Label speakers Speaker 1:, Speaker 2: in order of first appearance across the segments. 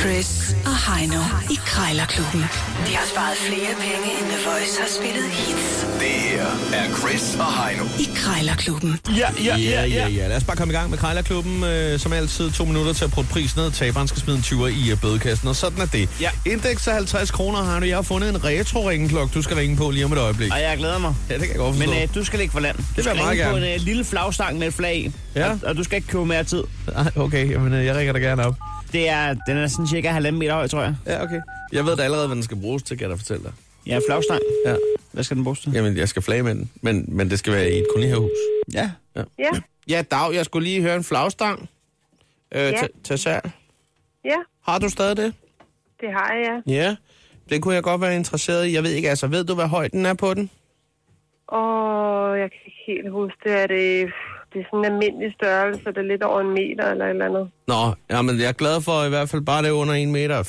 Speaker 1: Chris og Heino i Krejlerklubben. De har sparet flere penge, end The Voice har spillet hits
Speaker 2: Det her er Chris og Heino.
Speaker 1: i Krejlerklubben.
Speaker 3: Ja, ja,
Speaker 4: Ja, ja, ja. Lad os bare komme i gang med Krejlerklubben. Øh, som altid, to minutter til at putte prisen ned. Taberen skal smide en 20'er i øh, bødekassen, og sådan er det.
Speaker 3: Ja.
Speaker 4: Indeks er 50 kroner, har du. Jeg har fundet en retro-ringklok, du skal ringe på lige om et øjeblik.
Speaker 3: Og jeg glæder mig.
Speaker 4: Ja, det kan jeg godt
Speaker 3: Men
Speaker 4: forstå.
Speaker 3: øh, du skal ikke for land. Du
Speaker 4: vil jeg
Speaker 3: skal
Speaker 4: meget
Speaker 3: ringe på en
Speaker 4: gerne.
Speaker 3: øh, lille flagstang med et flag i.
Speaker 4: Ja.
Speaker 3: Og, og du skal ikke købe mere tid.
Speaker 4: øh, Ej, okay, jamen, øh, jeg ringer dig gerne op.
Speaker 3: Det er, den er sådan cirka halvanden meter høj, tror jeg.
Speaker 4: Ja, okay. Jeg ved da allerede, hvad den skal bruges til, kan jeg da fortælle dig.
Speaker 3: Ja, flagstang.
Speaker 4: Ja.
Speaker 3: Hvad skal den bruges til?
Speaker 4: Jamen, jeg skal flage med den, men, men det skal være i et kolonihavehus.
Speaker 3: Ja.
Speaker 5: Ja,
Speaker 4: Ja, Dag, jeg skulle lige høre en flagstang øh, ja. til salg.
Speaker 5: ja,
Speaker 4: Har du stadig det?
Speaker 5: det har jeg, ja.
Speaker 4: Ja, det kunne jeg godt være interesseret i. Jeg ved ikke, altså ved du, hvad højden er på den?
Speaker 5: Og jeg kan ikke helt huske det. Er det, det er sådan en almindelig størrelse, det er lidt over en meter eller et eller andet.
Speaker 4: Nå, jamen jeg er glad for i hvert fald bare det er under 1,80 meter.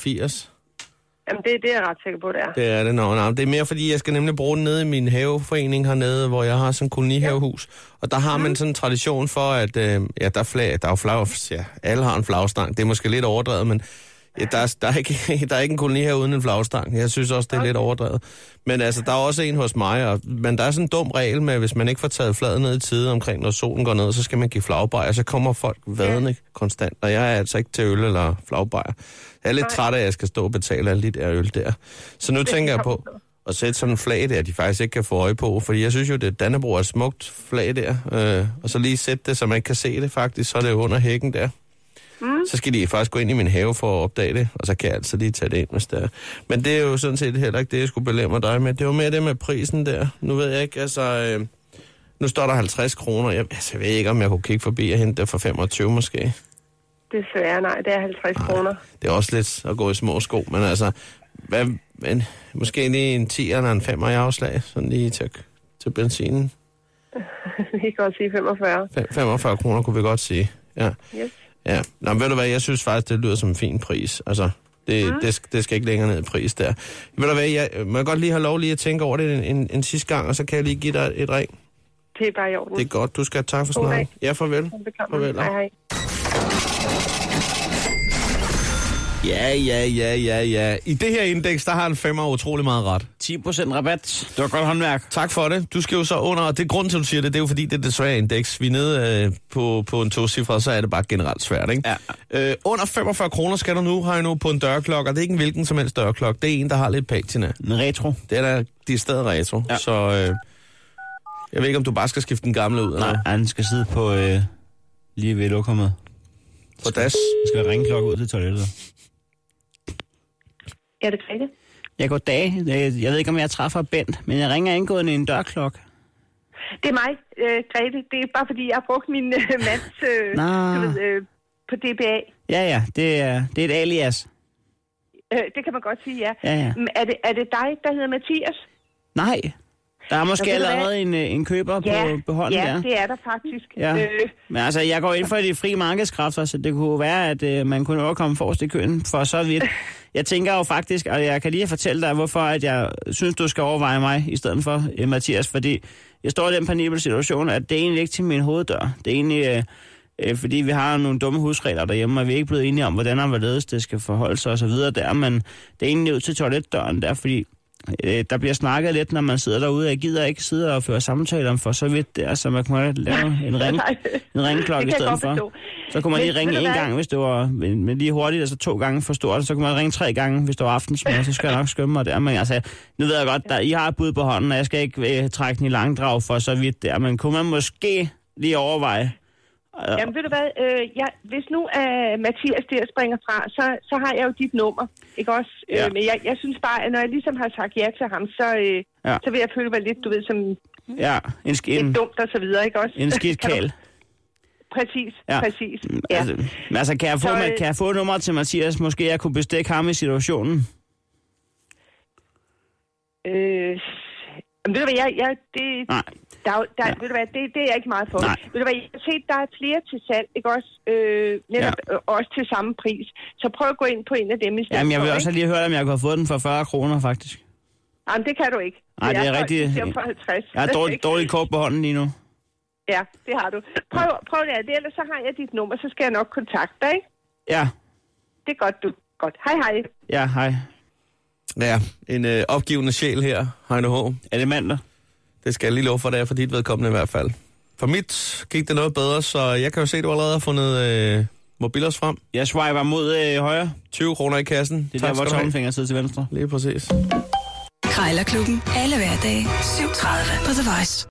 Speaker 5: Jamen, det, det er jeg ret sikker på, det er.
Speaker 4: Det er det, nå, nå. Det er mere fordi, jeg skal nemlig bruge den nede i min haveforening hernede, hvor jeg har sådan en kolonihavehus. Og der har man sådan en tradition for, at øh, ja, der, er flag, der er jo flag, ja, alle har en flagstang. Det er måske lidt overdrevet, men ja, der, er, der, er ikke, der er ikke en kolonihave uden en flagstang. Jeg synes også, det er lidt overdrevet. Men altså, der er også en hos mig, og, men der er sådan en dum regel med, at hvis man ikke får taget flaget ned i tide omkring, når solen går ned, så skal man give flagbejer, så kommer folk vadende konstant. Og jeg er altså ikke til øl eller flagbejer. Jeg er lidt træt af, at jeg skal stå og betale alle de der øl der. Så nu tænker jeg på at sætte sådan en flag der, de faktisk ikke kan få øje på. Fordi jeg synes jo, det Dannebro er et smukt flag der. Øh, og så lige sætte det, så man ikke kan se det faktisk, så er det jo under hækken der. Mm. Så skal de faktisk gå ind i min have for at opdage det, og så kan jeg altså lige tage det ind, hvis det er. Men det er jo sådan set heller ikke det, jeg skulle belæmme dig med. Det var mere det med prisen der. Nu ved jeg ikke, altså... Øh, nu står der 50 kroner. Jeg, altså, jeg ved ikke, om jeg kunne kigge forbi og hente det for 25 måske.
Speaker 5: Desværre, nej, det er 50 kroner.
Speaker 4: Det er også lidt at gå i små sko, men altså, hvad, men, måske lige en 10 eller en 5'er i afslag, sådan lige til, til benzinen.
Speaker 5: Vi kan godt sige 45.
Speaker 4: Fem- 45 kroner kunne vi godt sige. Ja.
Speaker 5: Yes.
Speaker 4: Ja, Nå, men ved du hvad, jeg synes faktisk, det lyder som en fin pris. Altså, det, mm. det, sk- det skal ikke længere ned i pris der. Ved du hvad, jeg øh, må jeg godt lige have lov lige at tænke over det en, en, en sidste gang, og så kan jeg lige give dig et ring.
Speaker 5: Det er bare i orden.
Speaker 4: Det er godt, du skal have tak for
Speaker 5: God
Speaker 4: snakken.
Speaker 5: dag.
Speaker 4: Ja, farvel.
Speaker 5: Velbekomme.
Speaker 4: Farvel.
Speaker 5: Hej, hej.
Speaker 4: Ja, ja, ja, ja, ja. I det her indeks, der har en femmer utrolig meget ret.
Speaker 3: 10 rabat. Det var godt håndværk.
Speaker 4: Tak for det. Du skal jo så under, og det er grunden til, at du siger det, det er jo fordi, det er det svære indeks. Vi er nede øh, på, på en tocifre, så er det bare generelt svært, ikke? Ja. Øh, under 45 kroner skal du nu, har jeg nu på en dørklokke, og det er ikke en hvilken som helst dørklokke, det er en, der har lidt patina.
Speaker 3: En retro.
Speaker 4: Det er da, de er stadig retro, ja.
Speaker 3: Ja.
Speaker 4: så øh, jeg ved ikke, om du bare skal skifte den gamle ud, eller
Speaker 3: Nej, han skal sidde på øh, lige ved lokummet.
Speaker 4: på das.
Speaker 3: Jeg skal ringe klokken ud til toilettet.
Speaker 5: Ja, det er rigtigt.
Speaker 3: Jeg går dag. Jeg ved ikke, om jeg træffer Bent, men jeg ringer indgående i en dørklok.
Speaker 5: Det er mig, øh, Grete. Det er bare, fordi jeg har brugt min øh, mands øh,
Speaker 3: Nå.
Speaker 5: du ved, øh, på DBA.
Speaker 3: Ja, ja, det er, det er et alias.
Speaker 5: Øh, det kan man godt sige, ja.
Speaker 3: Ja, ja.
Speaker 5: Men Er, det, er det dig, der hedder Mathias?
Speaker 3: Nej, der er måske
Speaker 5: Ja, ved du hvad?
Speaker 3: allerede en, øh, en køber på, på hånden
Speaker 5: ja
Speaker 3: der.
Speaker 5: det er der faktisk.
Speaker 3: Ja.
Speaker 5: Øh,
Speaker 3: Men altså, jeg går ind for de frie markedskræfter, så det kunne jo være, at øh, man kunne overkomme forrest i køen for så vidt. Jeg tænker jo faktisk, og jeg kan lige fortælle dig, hvorfor at jeg synes, du skal overveje mig i stedet for øh, Mathias, fordi jeg står i den panible situation, at det er egentlig ikke til min hoveddør. Det er egentlig, øh, øh, fordi vi har nogle dumme husregler derhjemme, og vi er ikke blevet enige om, hvordan og hvorledes det skal forholde sig osv. der, men det er egentlig ud til toiletdøren der, fordi øh, der bliver snakket lidt, når man sidder derude. Jeg gider ikke sidde og føre samtaler om for så vidt der, så man kunne lave en ring,
Speaker 5: Nej.
Speaker 3: en ringklokke i
Speaker 5: Det kan jeg
Speaker 3: stedet
Speaker 5: godt
Speaker 3: for.
Speaker 5: forstå.
Speaker 3: Så kunne man
Speaker 5: Men
Speaker 3: lige
Speaker 5: ved
Speaker 3: ringe
Speaker 5: du
Speaker 3: en
Speaker 5: hvad?
Speaker 3: gang, hvis det var men, men lige hurtigt, altså to gange for stort, så kunne man ringe tre gange, hvis det var aftensmad, så skal jeg nok skømme mig der. Men altså, nu ved jeg godt, der, I har et bud på hånden, og jeg skal ikke øh, trække den i langdrag for så vidt der, men kunne man måske lige overveje,
Speaker 5: Jamen ved du hvad, øh, jeg, hvis nu uh, Mathias der springer fra, så, så har jeg jo dit nummer, ikke også?
Speaker 3: Ja.
Speaker 5: Øh, men jeg, jeg synes bare, at når jeg ligesom har sagt ja til ham, så, øh,
Speaker 3: Ja.
Speaker 5: ja. så vil jeg føle mig lidt, du ved, som
Speaker 3: ja, en, sk-
Speaker 5: lidt
Speaker 3: en,
Speaker 5: dumt og så videre, ikke også?
Speaker 3: en skidt
Speaker 5: Kan du-
Speaker 3: kæl.
Speaker 5: Præcis,
Speaker 3: Ja.
Speaker 5: ja. præcis.
Speaker 3: Ja.
Speaker 5: Ja.
Speaker 3: Altså, men altså, kan jeg, få,
Speaker 5: Så,
Speaker 3: man,
Speaker 5: øh,
Speaker 3: kan jeg få nummer til Mathias? Måske jeg kunne bestikke ham i situationen.
Speaker 5: Øh, jamen, ved du hvad, jeg, jeg, det,
Speaker 3: Nej.
Speaker 5: der, er jo- der,
Speaker 3: Ja.
Speaker 5: ja. ved du hvad, det, det er jeg ikke meget for.
Speaker 3: Nej.
Speaker 5: Ved du hvad, jeg har set, der er flere til salg, ikke også? Øh, netop, ja. også til samme pris. Så prøv at gå ind på en af dem i stedet
Speaker 3: Jamen, jeg vil
Speaker 5: for,
Speaker 3: også
Speaker 5: ikke?
Speaker 3: lige høre, om jeg kunne have fået den for 40 kroner, faktisk.
Speaker 5: Jamen, det kan du ikke.
Speaker 3: Nej, det er
Speaker 5: Jeg
Speaker 3: rigtig-
Speaker 5: Jeg er på 50.
Speaker 3: Jeg har dårligt,
Speaker 5: Ikke?
Speaker 3: dårligt kort på hånden lige nu.
Speaker 5: Ja, det har du. Prøv, prøv det, her. det, ellers så har jeg dit nummer, så skal jeg nok kontakte dig, ikke?
Speaker 3: Ja,
Speaker 5: Det er godt, du. Godt. Hej, hej.
Speaker 3: Ja, hej.
Speaker 4: Ja, en øh, opgivende sjæl her, Heino H.
Speaker 3: Er det mandag?
Speaker 4: Det skal jeg lige love for, det er for dit vedkommende i hvert fald. For mit gik det noget bedre, så jeg kan jo se, at du allerede har fundet øh, mobilers frem.
Speaker 3: Jeg swiper mod øh, højre.
Speaker 4: 20 kroner i kassen.
Speaker 3: Det er der, hvor
Speaker 4: skal du have.
Speaker 3: tommelfingeren sidder til venstre.
Speaker 4: Lige præcis.
Speaker 1: Krejlerklubben. Alle hverdage. 7.30 på The Voice.